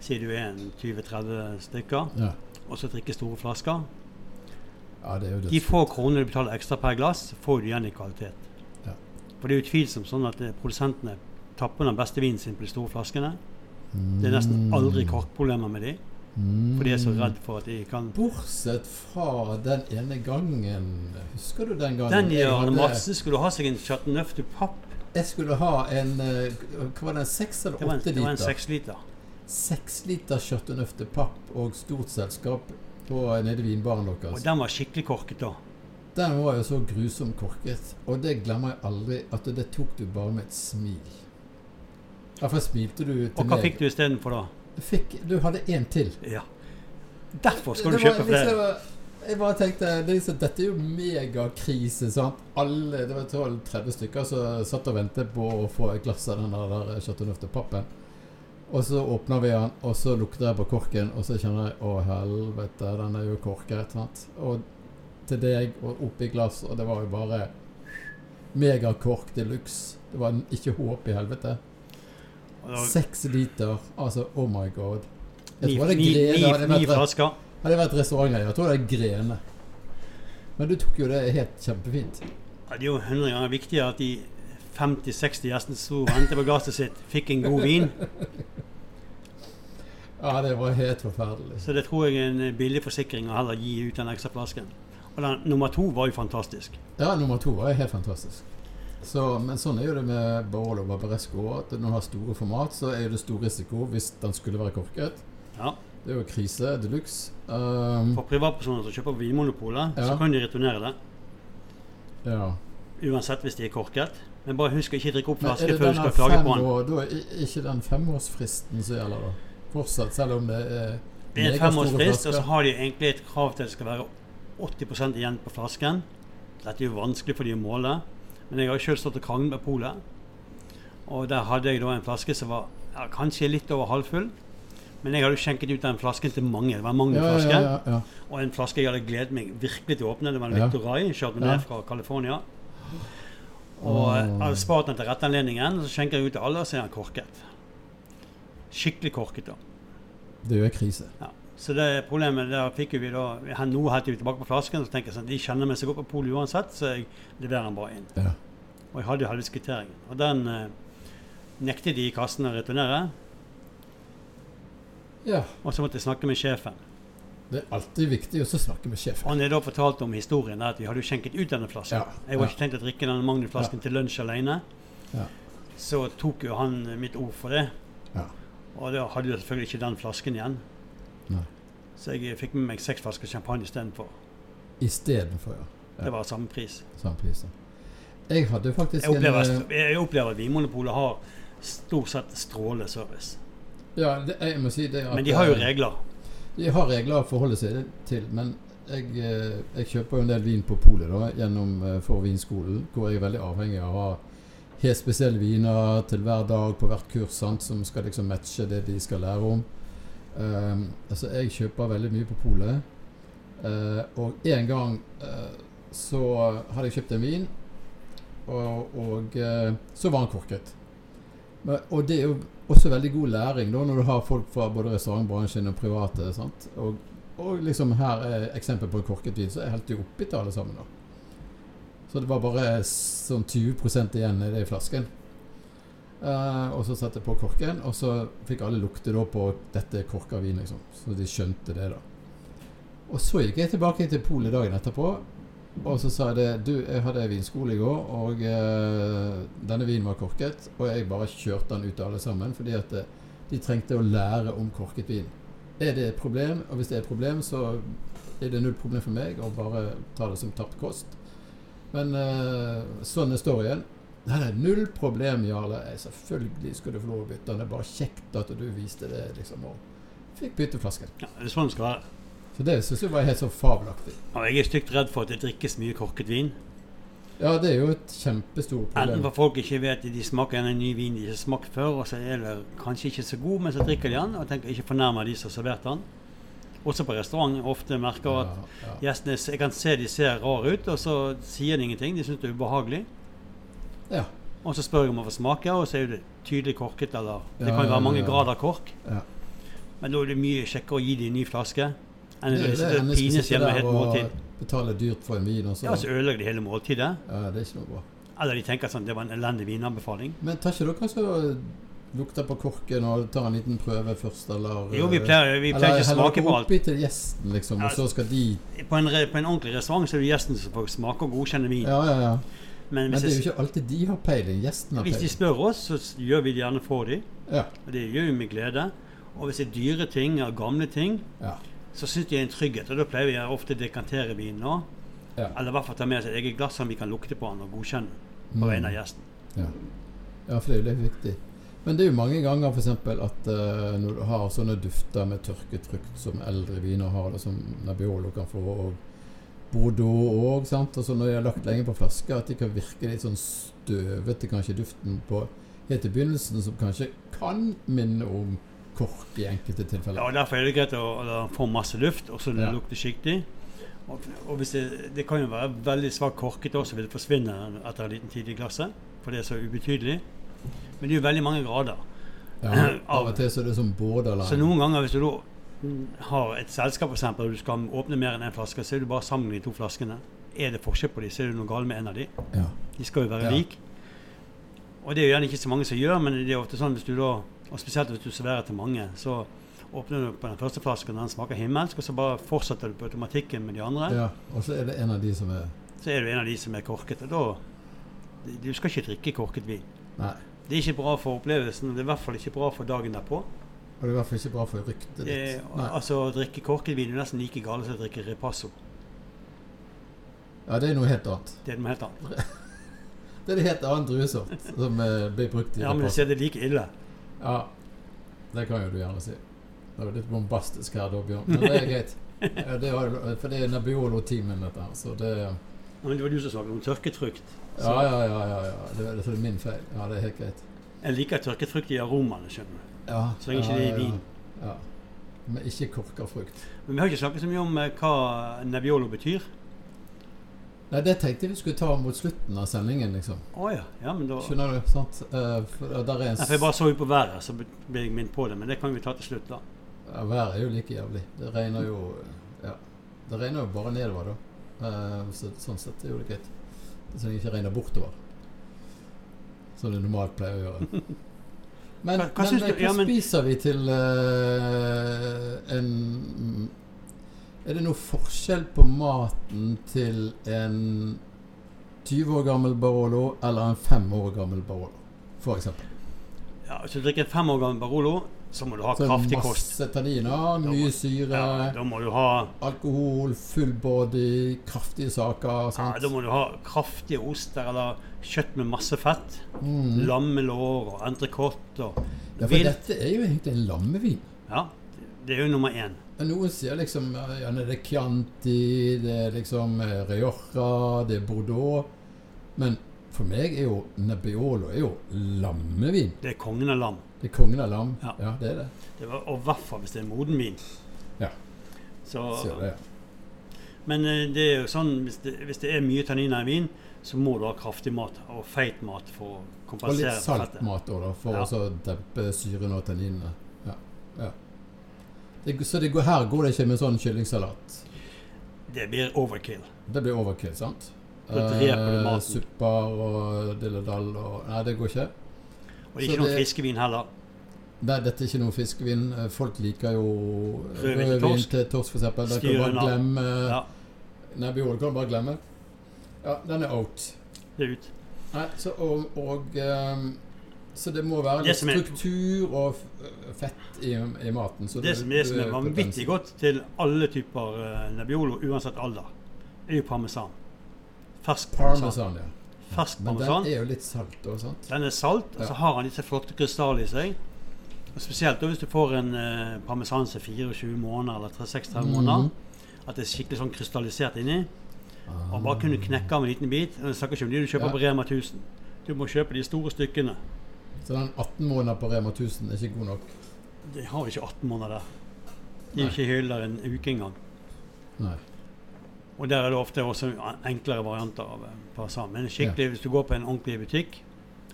D: Sier du er en 20-30 stykker,
A: Ja.
D: og så drikker store flasker.
A: ja, det er jo
D: De
A: det.
D: få kronene du betaler ekstra per glass, får du igjen i kvalitet.
A: Ja.
D: For det er utvilsomt sånn at eh, produsentene tapper den beste vinen sin på de store flaskene. Det er
A: Mm.
D: nesten aldri korkproblemer med de, for de er så redd for at de kan
A: Bortsett fra den ene gangen Husker du den gangen?
D: Den
A: jeg
D: gjør
A: hadde-
D: han masse. Skulle ha seg en Chateauneuf du papp.
A: Jeg skulle ha en eh, Hva var det, en seks eller
D: Det var en,
A: åtte
D: det var en
A: liter?
D: seksliter.
A: Seks liter kjøttenøff til papp og stort selskap på, eh, nede i vinbaren
D: Og
A: deres.
D: den var skikkelig korket da.
A: Altså. Den var jo så grusomt korket, og det glemmer jeg aldri, at det tok du bare med et smil. Iallfall smilte du til
D: Og hva fikk du istedenfor da?
A: Du, fikk, du hadde én til.
D: Ja. Derfor skal
A: Det
D: du
A: var
D: kjøpe
A: liksom-
D: flere.
A: Jeg bare tenkte liksom, Dette er jo megakrise. sant? Alle, Det var 12-30 stykker som satt og ventet på å få et glass av den der eh, kjøttenøftepappen. Og så åpner vi den, og så lukter jeg på korken, og så kjenner jeg Å, helvete, den er jo korket. sant? Og til deg, og oppi glass, og det var jo bare megakork de luxe. Det var en ikke håp i helvete.
D: Og da-
A: Seks liter, altså oh my god. Jeg
D: Ni,
A: tror det er
D: ni,
A: grene.
D: ni,
A: Hadde
D: ni
A: det vært,
D: flasker.
A: hadde det vært restaurantgreier, jeg tror det er grene. Men du tok jo det helt kjempefint.
D: Ja, det er jo 100 ganger viktigere at de 50-60 gjestene som sto og hentet på gasset sitt, fikk en god vin.
A: Ja, det var helt forferdelig.
D: Så det tror jeg er en eh, billig forsikring å heller gi ut den ekstra flasken. Og den nummer to var jo fantastisk.
A: Ja, nummer to var helt fantastisk. Så, men sånn er jo det med Barolo og Barbaresco. også, At når du har store format, så er jo det stor risiko hvis den skulle være korket.
D: Ja.
A: Det er jo krise de luxe. Um,
D: For privatpersoner som kjøper Vinmonopolet,
A: Ja.
D: så kan de returnere det.
A: ja.
D: Uansett hvis de er korket. Men bare husk å ikke drikke opp
A: Men er
D: flaske
A: det
D: før du
A: denne
D: skal klage
A: fem
D: på den.
A: år, da er i- ikke den femårsfristen som gjelder, da? Fortsatt, selv om det er
D: Det er en
A: megastore
D: femårsfrist, og så
A: flasker.
D: har de egentlig et krav til at det skal være 80 igjen på flasken. Dette er jo vanskelig for de å måle, men jeg har jo selv stått og kranglet med polet. Og der hadde jeg da en flaske som var ja, kanskje litt over halvfull. Men jeg hadde jo skjenket ut den flasken til mange. Det var mange
A: ja,
D: flasker.
A: ja, ja, ja.
D: Og en flaske jeg hadde gledet meg virkelig til å åpne. Det var en
A: Ja.
D: Victorai, kjørt
A: Ja.
D: ned fra California. Og eh, jeg hadde spart den til rette anledningen, og så skjenker jeg ut til alle, og så er den korket. Skikkelig korket, da.
A: Det er jo en krise.
D: Ja. Så det problemet der fikk jo vi da vi had- Nå heter vi tilbake på flasken, og så tenker jeg sånn De kjenner meg så godt på polet uansett, så jeg leverer den bare inn.
A: Ja.
D: Og jeg hadde jo halve kvitteringen. Og den eh, nektet de i kassen å returnere.
A: ja.
D: Og så måtte jeg snakke med sjefen.
A: Det er alltid viktig også å snakke med sjefen.
D: Han er da fortalt om historien der at vi hadde jo skjenket ut denne flasken.
A: Ja,
D: Jeg var
A: ja.
D: ikke tenkt å drikke denne Magnum-flasken til lunsj alene.
A: Ja.
D: Så tok jo han mitt ord for det.
A: Ja.
D: Og da hadde jeg selvfølgelig ikke den flasken igjen.
A: Nei.
D: Så jeg eh, fikk med meg seks flasker champagne istedenfor.
A: Istedenfor, ja. Ja.
D: Det var samme pris.
A: Samme pris. ja. sånn, Jeg hadde faktisk
D: Jeg opplever,
A: en eh,
D: jeg opplever at Vinmonopolet har stort sett strålende service.
A: eh, Ja, det, jeg må si det at
D: Men de har jo
A: eh,
D: regler.
A: De har regler å forholde seg til, men jeg, eh, jeg kjøper jo en del vin på polet da, gjennom eh, for vinskolen, hvor jeg er veldig avhengig av å ha helt spesielle viner til hver dag på hvert kurs, sant, som skal liksom matche det de skal lære om. Ehm, altså, jeg kjøper veldig mye på polet. Eh, og en gang eh, så hadde jeg kjøpt en vin, og, og eh, så var han korket. Men, og det er jo også veldig god læring da, når du har folk fra både restaurantbransjen og private. Sant? Og, og liksom her er eksempel på en korket vin, så er jeg helt oppgitt av alle sammen. da. Så det var bare sånn 20 igjen i det i flasken. Eh, og så satte jeg på korken, og så fikk alle lukte da på dette er korka vin, liksom. Så de skjønte det, da. Og så gikk jeg tilbake til polet dagen etterpå, og så sa jeg det Du, jeg hadde vinskole i går, og eh, denne vinen var korket. Og jeg bare kjørte den ut til alle sammen, fordi at eh, de trengte å lære om korket vin. Er det et problem? Og hvis det er et problem, så er det null problem for meg å bare ta det som tapt kost. Men eh, sånn er storyen. Nei, nei, null problem, Jarle. Jeg, selvfølgelig skal du få lov å bytte den. Det er bare kjekt at du viste det, liksom. Og fikk bytte flasken.
D: Ja, det er sånn det skal være.
A: Så det syns jeg var helt så fabelaktig.
D: Og jeg er stygt redd for at det drikkes mye korket vin.
A: Ja, det er jo et kjempestort
D: Enten
A: problem.
D: for folk ikke vet at de smaker en ny vin de ikke har smakt før, og så er det kanskje ikke så god, men så drikker de den, og tenker ikke fornærmer de som har servert den. Også på restaurant ofte merker at
A: ja.
D: gjestene s- Jeg kan se de ser rare ut, og så sier de ingenting. De syns det er ubehagelig.
A: Ja.
D: Og så spør jeg om å få smake, og så er det tydelig korket, eller Det
A: Ja,
D: kan jo
A: ja,
D: være mange
A: ja.
D: grader kork.
A: Ja.
D: Men da er det mye kjekkere å gi dem en ny flaske enn
A: Det,
D: å
A: det er
D: sitte og
A: eneste som
D: pines
A: sitter
D: hjemme et
A: der
D: helt måltid.
A: og betaler dyrt for en vin. Og så.
D: Ja, så ødelegger de hele måltidet.
A: Ja, det er ikke noe bra.
D: Eller de tenker sånn det var en elendig vinanbefaling.
A: Men tar ikke dere kanskje og lukter på korken og tar en liten prøve først, eller
D: Jo, vi pleier, vi pleier ikke å smake på alt.
A: oppi til gjesten, liksom, og
D: Ja,
A: så skal de
D: På en, re- på en ordentlig restaurant så er det gjesten som får smake og godkjenne vin.
A: Ja, ja, ja.
D: Men
A: Men
D: hvis,
A: det er jo
D: jeg,
A: ikke alltid de har peiling. Gjesten har
D: hvis de
A: peiling.
D: spør oss, så s- gjør vi det gjerne for dem.
A: Ja,
D: Og det gjør vi med glede. Og hvis det er dyre ting eller gamle ting,
A: ja.
D: så syns de er en trygghet. Og da pleier vi ofte å dekantere vinen òg.
A: Ja.
D: Eller i hvert fall ta med oss et eget glass som vi kan lukte på den og godkjenne på
A: Mm.
D: vegne av gjesten.
A: Ja, for det er jo litt viktig. Men det er jo mange ganger for eksempel at eh, når du har sånne dufter med tørket frukt som eldre viner har, da, som Nebbiolo kan få, og Bordeaux òg, sant. Og så når de har lagt lenge på flasker, at de kan virke litt sånn støvete, kanskje duften på helt i begynnelsen, som kanskje kan minne om kork i enkelte
D: Ja,
A: tilfeller.
D: og Derfor er det greit å, å få masse luft, og så det
A: Ja.
D: lukter skikkelig. Og, og hvis det, det kan jo være veldig svakt korket også, vil det forsvinne etter en liten tid i glasset. For det er så ubetydelig. Men det er jo veldig mange grader.
A: Ja, av og til så er det sånn borderline.
D: Så noen ganger hvis du da har et selskap for eksempel, og du skal åpne mer enn én flaske, så er du bare sammen med de to flaskene. Er det forskjell på dem, så er det noe galt med en av dem.
A: ja.
D: De skal jo
A: Ja.
D: være like. Og det er jo gjerne ikke så mange som gjør, men det er ofte sånn hvis du da, og spesielt hvis du serverer til mange, så åpner du på den første flasken, den smaker himmelsk, og så bare fortsetter du på automatikken med de andre.
A: ja. Og så er det en av de som er
D: Så er du en av de som er korket, og da Du skal ikke drikke korket vin.
A: Nei.
D: Det er ikke bra for opplevelsen, og det er i hvert fall ikke bra for dagen derpå.
A: Og det er i hvert fall ikke bra for ryktet
D: Eh,
A: ditt. Nei.
D: altså, å drikke korkedvin er nesten like gale som å drikke Repasso.
A: Ja, det er noe helt annet.
D: Det er noe helt annet.
A: Det er en helt annen druesort som eh, blir brukt i
D: Ja, men du
A: reportasjen.
D: ser det er like ille.
A: Ja, det kan jo du gjerne si. Det var litt bombastisk her da, Bjørn. Men det er greit. Ja, Det var, jo- for det er Nabiolo-teamen, dette her. Så det
D: Ja, Men det var du som snakket om tørket frukt. Så
A: Ja, ja, ja. ja, ja. Det, er- så det er min feil. Ja, det er helt greit.
D: Jeg liker tørket frukt i aromaene, skjønner du.
A: Ja,
D: Så lenge
A: ja,
D: ikke det er
A: ja,
D: vin.
A: Ja. Men ikke kork av frukt.
D: Men vi har ikke snakket så mye om eh, hva Nebbiolo betyr.
A: Nei, det tenkte jeg vi skulle ta mot slutten av sendingen, liksom.
D: Å ja. ja, men da Nei,
A: Skjønner du? Sant? Eh, for der er en s-
D: for Jeg bare så jo på været, så ble jeg minnet på det. Men det kan vi ta til slutt, da.
A: Ja, Været er jo like jævlig. Det regner jo ja. Det regner jo bare nedover, da. Eh, så, sånn sett er jo det greit. Så lenge det ikke regner bortover. Som det normalt pleier å gjøre. Men
D: Hva- hva
A: men,
D: syns du-
A: eh, hva
D: ja, men-
A: spiser vi til eh, en mm, Er det noe forskjell på maten til en 20 år gammel Barolo eller en 5 år gammel Barolo, for eksempel?
D: Ja, Hvis du drikker en fem år gammel Barolo, så må du ha
A: Så
D: kraftig kost.
A: masse tanniner, mye syre
D: Ja, da må du ha
A: Alkohol, full body, kraftige saker.
D: ja,
A: Sant?
D: Da må du ha kraftige oster eller kjøtt med masse fett.
A: Mm.
D: Lammelår og entrecôte og
A: ja, for
D: vilt.
A: dette er jo egentlig en lammevin.
D: Ja, det er jo nummer én.
A: Men Noen sier liksom ja, det er Chianti, det er liksom eh, Rioja, det er Bordeaux. Men for meg er jo Nebbiolo er jo lammevin.
D: Det er kongen av lam.
A: Det er kongen av lam. Ja,
D: Ja.
A: det er det.
D: Det var, og i hvert fall hvis det er moden vin.
A: Ja.
D: Så,
A: Sier det.
D: men eh, det er jo sånn, hvis det, hvis det er mye tanniner i vin, så må du ha kraftig mat og feit mat for å
A: Og
D: kompensere
A: litt
D: for fettet.
A: saltmat òg, da, for
D: Ja.
A: å så dempe syren og tanninene. Ja. Ja. Det, så det går, her går det ikke med sånn kyllingsalat.
D: Det blir overkill.
A: Det blir overkill, sant?
D: Da dreper du
A: Eh,
D: maten.
A: Supper og dilledall og Nei, det går ikke.
D: Og det
A: Så
D: er ikke noe
A: det-
D: fiskevin heller.
A: Nei, dette er ikke noe fiskevin. Eh, Folk liker jo
D: Rødvin
A: rødvin
D: til torsk.
A: til torsk, for eksempel. Det kan du
D: Styrer
A: bare
D: unna.
A: glemme.
D: Ja,
A: Nei, Bjorn, kan du bare glemme. Ja, den er out.
D: det er ut.
A: Nei, så og, og ehm, Så det må være
D: Det
A: litt
D: som er-
A: struktur og f- eh, fett i, i maten. Så
D: Det
A: du-
D: som er, som
A: du
D: er
A: på grensen.
D: vanvittig godt til alle typer eh, Nebbiolo, uansett alder, er jo parmesan. Fersk parmesan.
A: Parmesan, ja.
D: Fersk
A: Men
D: parmesan.
A: den er jo litt salt òg, sant?
D: Den er salt, og
A: Ja.
D: så har han disse flotte krystallene i seg. Og spesielt da hvis du får en eh, parmesan som er 24 måneder eller 36
A: Mhm.
D: måneder. At det er skikkelig sånn krystallisert inni. Og bare kunne knekke av en liten bit. Og Jeg snakker ikke om de du kjøper
A: Ah. Ja.
D: på Rema 1000. Du må kjøpe de store stykkene.
A: Så den 18 måneder på Rema 1000 er ikke god nok.
D: De har jo ikke 18 måneder der. De er
A: Nei.
D: jo ikke hyller en uke engang.
A: Nei.
D: Og der er det ofte også en- enklere varianter av eh, parmesan. Men skikkelig, hvis du går på en ordentlig butikk,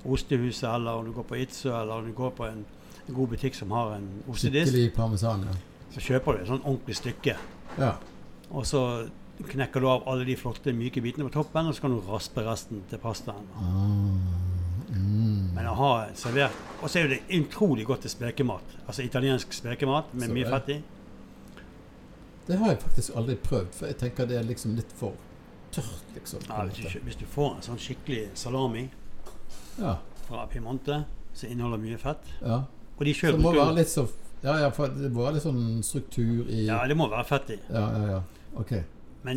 D: Ostehuset, eller om du går på Itzø, eller om du går på en god butikk som har en ostedisk,
A: Skikkelig parmesan, ja.
D: så kjøper du et sånn ordentlig stykke.
A: ja.
D: Og så knekker du av alle de flotte, myke bitene på toppen, og så kan du raspe resten til pastaen. Ah.
A: Mm.
D: Men å ha servert Og så er jo det utrolig godt til spekemat. Altså italiensk spekemat med
A: Så
D: mye
A: det.
D: fett i.
A: Det har jeg faktisk aldri prøvd, for jeg tenker det er liksom litt for tørt, liksom. på
D: Ja,
A: en
D: hvis, du,
A: måte.
D: kjø- hvis du får en sånn skikkelig salami
A: ja,
D: fra Piemonte som inneholder mye fett
A: ja.
D: Og de
A: Så
D: sjøl
A: det må være litt så Ja, ja, for det må være litt sånn struktur i
D: Ja,
A: Ja,
D: det må være fett i.
A: ja, ja. Ok.
D: Men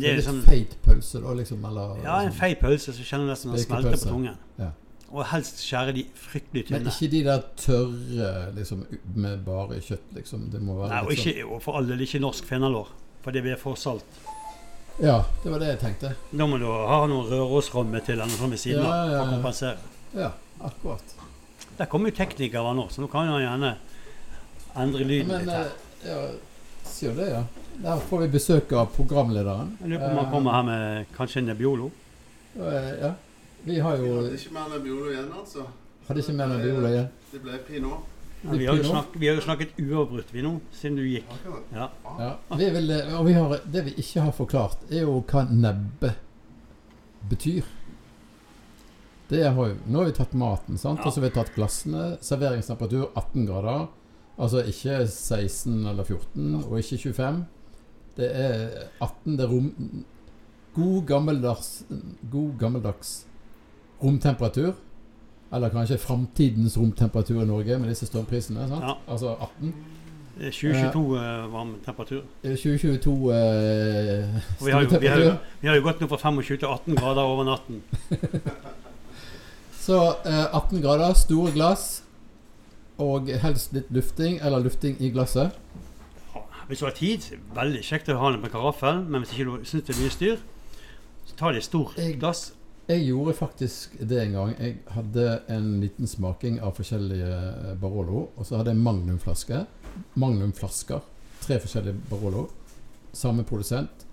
A: Det
D: det
A: er
D: er
A: litt
D: sånn
A: feit pølse, da, liksom? Eller
D: Ja, en feit pølse så kjenner du nesten den smelter
A: Spekepølse.
D: på tungen.
A: Ja.
D: Og helst skjære de fryktelig
A: Men
D: tynne.
A: ikke de der tørre liksom, med bare kjøtt, liksom. Det må være
D: Nei, og,
A: litt
D: ikke, og for all del ikke norsk fenalår, for det blir for salt.
A: sånn Ja, det var det jeg tenkte.
D: Da må du ha noe Rørosramme til eller noe sånt ved siden
A: Ja,
D: av
A: ja,
D: for
A: ja.
D: å kompensere.
A: Ja, akkurat.
D: Der kommer jo teknikere nå, så nå kan han gjerne endre lyden
A: Men
D: litt
A: eh,
D: her.
A: ja, passer jo det, ja. Der får vi besøk av programlederen.
D: Jeg lurer på om han
A: Eh,
D: kommer her med kanskje en Nebbiolo.
A: eh, ja. Vi har
E: Vi
A: jo
E: hadde ikke mer Nebbiolo igjen, altså.
A: Hadde ikke mer nebula igjen.
E: Det ble pinot.
D: Ja, vi, har jo snakket, vi har jo snakket uavbrutt, vi nå, siden du gikk.
E: Akkurat.
D: Ja.
A: Ja, vi vil, og vi har, det vi ikke har forklart, er jo hva nebbe betyr. Det har jo, nå har vi tatt maten, sant? og så har vi tatt glassene. Serveringstemperatur 18 grader. Altså ikke 16 eller 14, og ikke 25. Det er 18. Det er rom... God gammeldags, god gammeldags romtemperatur. Eller kanskje framtidens romtemperatur i Norge med disse strømprisene. sant?
D: Ja.
A: Altså 18.
D: Det er 2022 eh, varm temperatur.
A: Det er 2022 eh,
D: Og vi har, jo, vi, har jo,
A: stortemperatur.
D: vi har jo gått nå fra 25 til 18 grader over natten.
A: Så eh, 18 grader, store glass, og helst litt lufting, eller lufting i glasset.
D: Hvis du har tid, veldig kjekt å ha den på karaffel, men hvis ikke du syns det er mye styr, så ta det i stort
A: Jeg-
D: glass.
A: Jeg gjorde faktisk det en gang. Jeg hadde en liten smaking av forskjellige eh, Barolo. Og så hadde jeg Magnumflaske. Magnumflasker. Tre forskjellige Barolo. Samme produsent.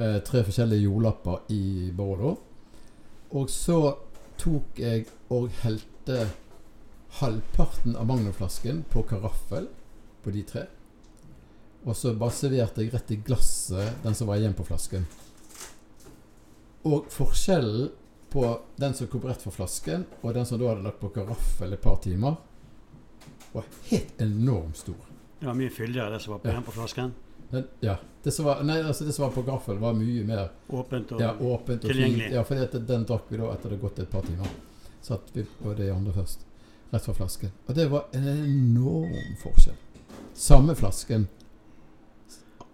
A: Eh, tre forskjellige jordlapper i Barolo. Og så tok jeg og helte halvparten av Magnumflasken på karaffel på de tre. Og så bare serverte jeg rett i glasset den som var igjen på flasken. Og forskjellen på den som kom rett fra flasken, og den som da hadde lagt på karaffel et par timer, var helt enormt stor.
D: Det var mye fyldigere det som var på,
A: Ja.
D: igjen på flasken.
A: Den, ja, det som var, nei, altså det som var på karaffel, var mye mer
D: Åpent og
A: ja, åpent og
D: tilgjengelig.
A: fint. Ja, fordi at den drakk vi da etter det hadde gått et par timer. Så at vi på det andre først. Rett fra flasken. Og det var en enorm forskjell. Samme flasken.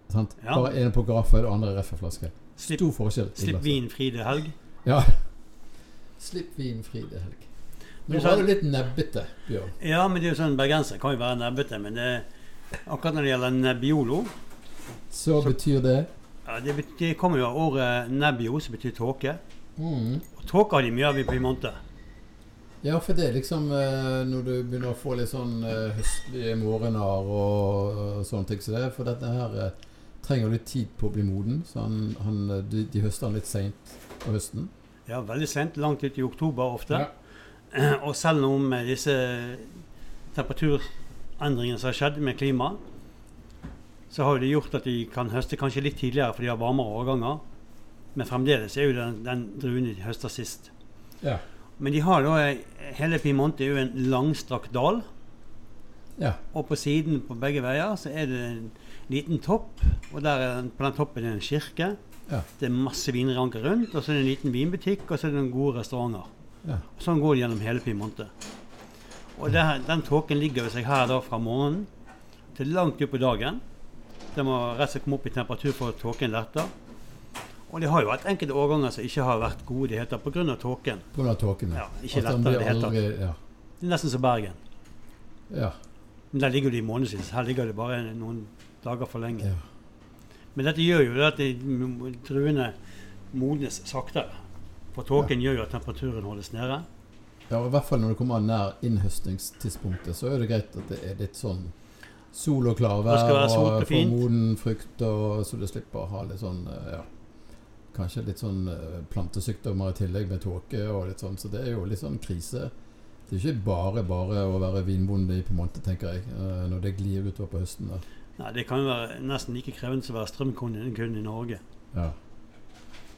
A: Sant?
D: Ja.
A: Bare en på karaffel, og andre rett fra flaske.
D: Slipp,
A: Stor forskjell. i
D: slipp
A: glasset.
D: vin fri til helg.
A: Ja. Slipp vin fri det helg.
D: Men
A: Nå
D: så-
A: var du litt nebbete, Bjørn.
D: Ja, men det er jo sånn bergenser kan jo være nebbete, men det, akkurat når det gjelder Nebbiolo
A: Så betyr det
D: ja, det, bet- det kommer jo av året Nebbio, som betyr tåke.
A: mm.
D: Og tåke har de mye av i Piemonte.
A: Ja, for det er liksom eh, når du begynner å få litt sånn eh, høstlige morgener og eh, sånne ting som det. For dette her eh, trenger litt tid på å bli moden. Så han, han, eh, de, de høster han litt seint på høsten.
D: Ja, veldig sent, langt ut i oktober ofte.
A: Ja.
D: Og selv om eh, disse temperaturendringene som har skjedd med klimaet, så har jo det gjort at de kan høste kanskje litt tidligere, for de har varmere årganger. Men fremdeles er jo den, den druen de høster sist.
A: Ja.
D: Men de har da eh, Hele Piemonte er jo en langstrakt dal.
A: Ja.
D: Og på siden på begge veier så er det en liten topp, og der er, den- på den toppen er det en kirke.
A: Ja.
D: Det er masse vinranker rundt, og så er det en liten vinbutikk, og så er det noen gode restauranter.
A: Ja.
D: Sånn går det gjennom hele Piemonte. Og det her- den tåken ligger jo seg her da fra morgenen til langt utpå dagen. Den må rett og slett komme opp i temperatur for at tåken letter. Og de har jo hatt enkelte årganger som ikke har vært gode i det hele tatt pga. tåken.
A: På grunn av tåken.
D: Ja, ikke
A: At han
D: lettere i
A: blir
D: det hele tatt.
A: aldri- Ja.
D: Det er nesten som Bergen.
A: Ja.
D: Men Der ligger de i månedsvis. Her ligger det bare noen dager for lenge.
A: Ja.
D: Men dette gjør jo det at de m- druene modnes saktere. For tåken gjør jo at temperaturen holdes nede.
A: Ja, og I hvert fall når du kommer nær innhøstingstidspunktet, så er det greit at det er litt sånn sol og
D: Det skal
A: klarvær
D: være sol og
A: og
D: fint.
A: formoden frukt, og så du slipper å ha litt sånn eh, ja, Kanskje litt sånn eh, plantesykdommer i tillegg med tåke og litt sånn, så det er jo litt sånn krise. Det er jo ikke bare bare å være vinbonde i Piemonte, tenker jeg, eh, når det glir utover på høsten. der.
D: Nei, det kan jo være nesten like krevende som å være strømkunde kunde i Norge.
A: Ja.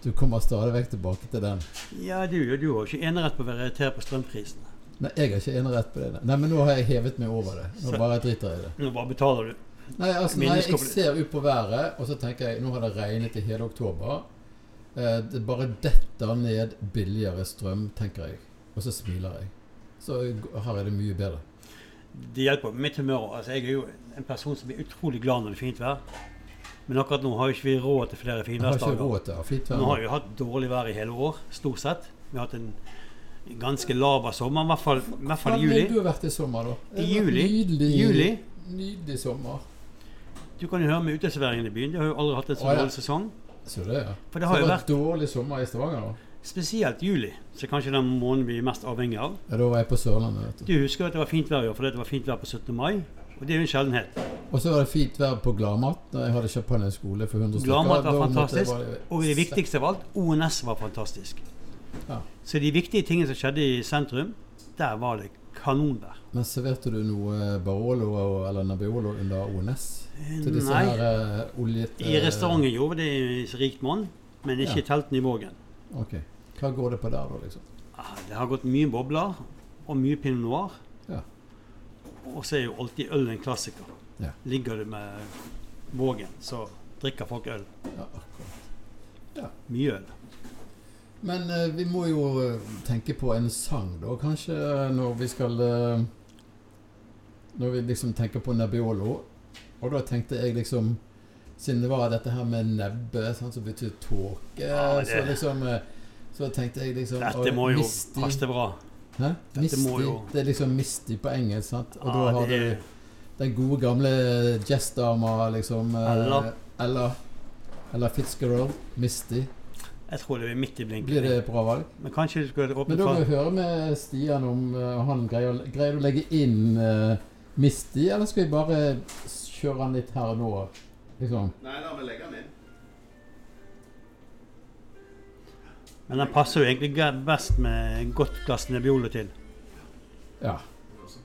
A: Du kommer stadig vekk tilbake til den.
D: Ja, du, du har jo ikke enerett på å være irritert på strømprisene.
A: Nei, jeg har ikke enerett på det. nei. Nei, men nå har jeg hevet meg over det. Nå
D: Så-
A: bare driter jeg i det.
D: Nå bare betaler du.
A: Nei, altså, nei, jeg
D: Minneskopp-
A: ser ut på været, og så tenker jeg nå har det regnet i hele oktober. Eh, det bare detter ned billigere strøm, tenker jeg. Og så smiler jeg. Så g- her er det mye bedre.
D: Det hjelper på mitt humør. også. Altså, jeg er jo en person som blir utrolig glad når det er fint vær. Men akkurat nå har jo ikke vi råd til flere
A: Jeg har ikke
D: finværsdager.
A: råd til å ha fint
D: Nå har
A: vær.
D: vi hatt dårlig vær i hele år, stort sett. Vi har hatt en ganske laber sommer, i hvert fall, i hvert fall i
A: ville du
D: juli.
A: ha vært i sommer, da?
D: I
A: Det var
D: juli.
A: Nydelig,
D: Juli.
A: nydelig sommer.
D: Du kan jo høre med uteserveringen i byen. De har jo aldri hatt en så
A: Å, ja.
D: dårlig sesong.
A: Så det, ja.
D: For det har
A: så
D: jo
A: det var
D: vært-
A: dårlig sommer i Stavanger, da.
D: Spesielt juli, som er kanskje den måneden vi er mest avhengig av.
A: Ja, da var jeg på Sørlandet, vet du.
D: Du husker jo at det var fint vær i år fordi det var fint vær på 17. mai. Og det er jo en sjeldenhet.
A: Og så var det fint vær på Gladmat. da Jeg hadde kjøpt på en skole for 100 stykker.
D: Gladmat
A: Da
D: var
A: måtte jeg
D: fantastisk,
A: bare-
D: og det viktigste av alt, ONS var fantastisk.
A: Ja.
D: Så de viktige tingene som skjedde i sentrum, der var det kanonvær.
A: Men serverte du noe Barolo og- eller Nebbiolo under ONS? Til disse
D: Nei.
A: her eh, oljete
D: I restauranten gjorde det i så rikt monn, men ikke
A: Ja.
D: i teltene i Vågen.
A: Ok. Hva går det på der, da, liksom?
D: Ah, Det har gått mye bobler og mye pinot noir.
A: Ja.
D: Og så er jo alltid øl en klassiker.
A: Ja.
D: Ligger du med Vågen, så drikker folk øl.
A: Ja, akkurat.
D: Mye øl.
A: Men eh, vi må jo eh, tenke på en sang, da, kanskje, når vi skal eh, Når vi liksom tenker på Nebbiolo. Og da tenkte jeg liksom Siden det var dette her med nebbe, sant, som betyr tåke,
D: Ja, det-
A: så liksom eh, Så tenkte jeg liksom
D: Dette
A: å,
D: må jo
A: misty.
D: passe bra.
A: Hæ?
D: Dette
A: Misty.
D: må jo-
A: Det er liksom Misty på engelsk, sant? Og
D: Ah,
A: da har
D: det er-
A: du den gode gamle jazzdama, liksom eh,
D: Ella.
A: Ella. Ella Fitzgerald. Misty.
D: Jeg tror det er midt i blinken.
A: Blir det et bra valg?
D: Men kanskje du skulle åpne
A: Men da må vi
D: for
A: høre med Stian om eh, han greier, å- greier å legge inn eh, Misty, eller skal vi bare kjøre han litt her og nå? Liksom.
E: Nei, la meg legge den inn.
D: Men den passer jo egentlig ge- best med godt glass Nebbiolo til.
A: Ja.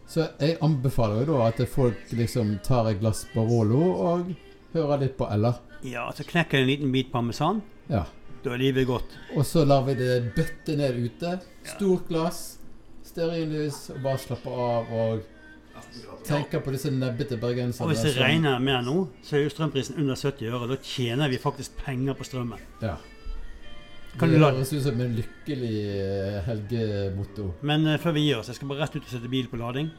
A: Så jeg anbefaler jo da at folk liksom tar et glass Barolo og hører litt på Ella.
D: Ja, så knekker jeg en liten bit parmesan.
A: Ja.
D: Da er livet godt.
A: Og så lar vi det bøtte ned ute. Stort glass, stearinlys, og bare slappe av og
E: 18 grader.
A: tenke på disse nebbete bergenserne.
D: Og hvis det
A: som-
D: regner mer nå, så er jo strømprisen under 70 øre. Da tjener vi faktisk penger på strømmen.
A: Ja.
D: Kan
A: Det
D: du la-
A: høres ut som en lykkelig eh, helgemotto.
D: Men eh, før vi gir oss, jeg skal bare rett ut og sette bilen på lading.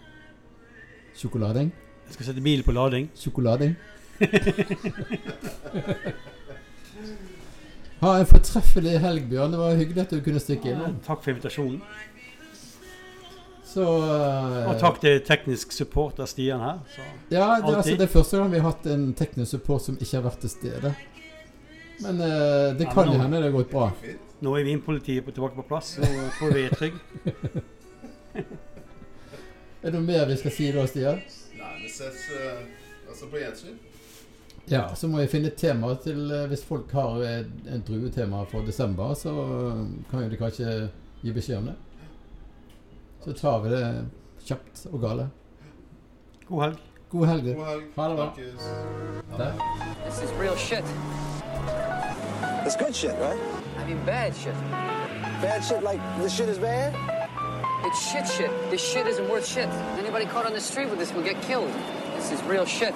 A: Sjokolading?
D: Jeg skal sette bilen på lading.
A: Sjokolading? ha en fortreffelig helg, Bjørn. Det var hyggelig at du kunne stikke innom.
D: Takk for invitasjonen.
A: Så Eh.
D: Og takk til teknisk support av Stian her. Så.
A: Ja, det, er altså,
D: alltid.
A: det er første gang vi har hatt en teknisk support som ikke har vært til stede. Men eh, det
D: Ja,
A: kan
D: men
A: jo
D: nå-
A: hende det har gått bra.
D: Nå er vinpolitiet på- tilbake på plass, så får vi trygg.
A: Er det noe mer vi skal si da, Stian?
E: Nei, vi ses eh, altså på gjensyn.
A: Ja, så må jeg finne et tema til eh, Hvis folk har eh, en druetema for desember, så eh, kan jo de kanskje gi beskjed om det. Så tar vi det kjapt og gale.
D: God helg.
A: God helg. du.
E: God helg.
A: Ha det bra.
E: Snakkes.
A: Der.
B: This is real shit.
C: It's good shit, right?
B: I mean, bad shit.
C: Bad shit like the shit is bad?
B: It's shit shit. This shit isn't worth shit. Anybody caught on the street with this will get killed. This is real shit.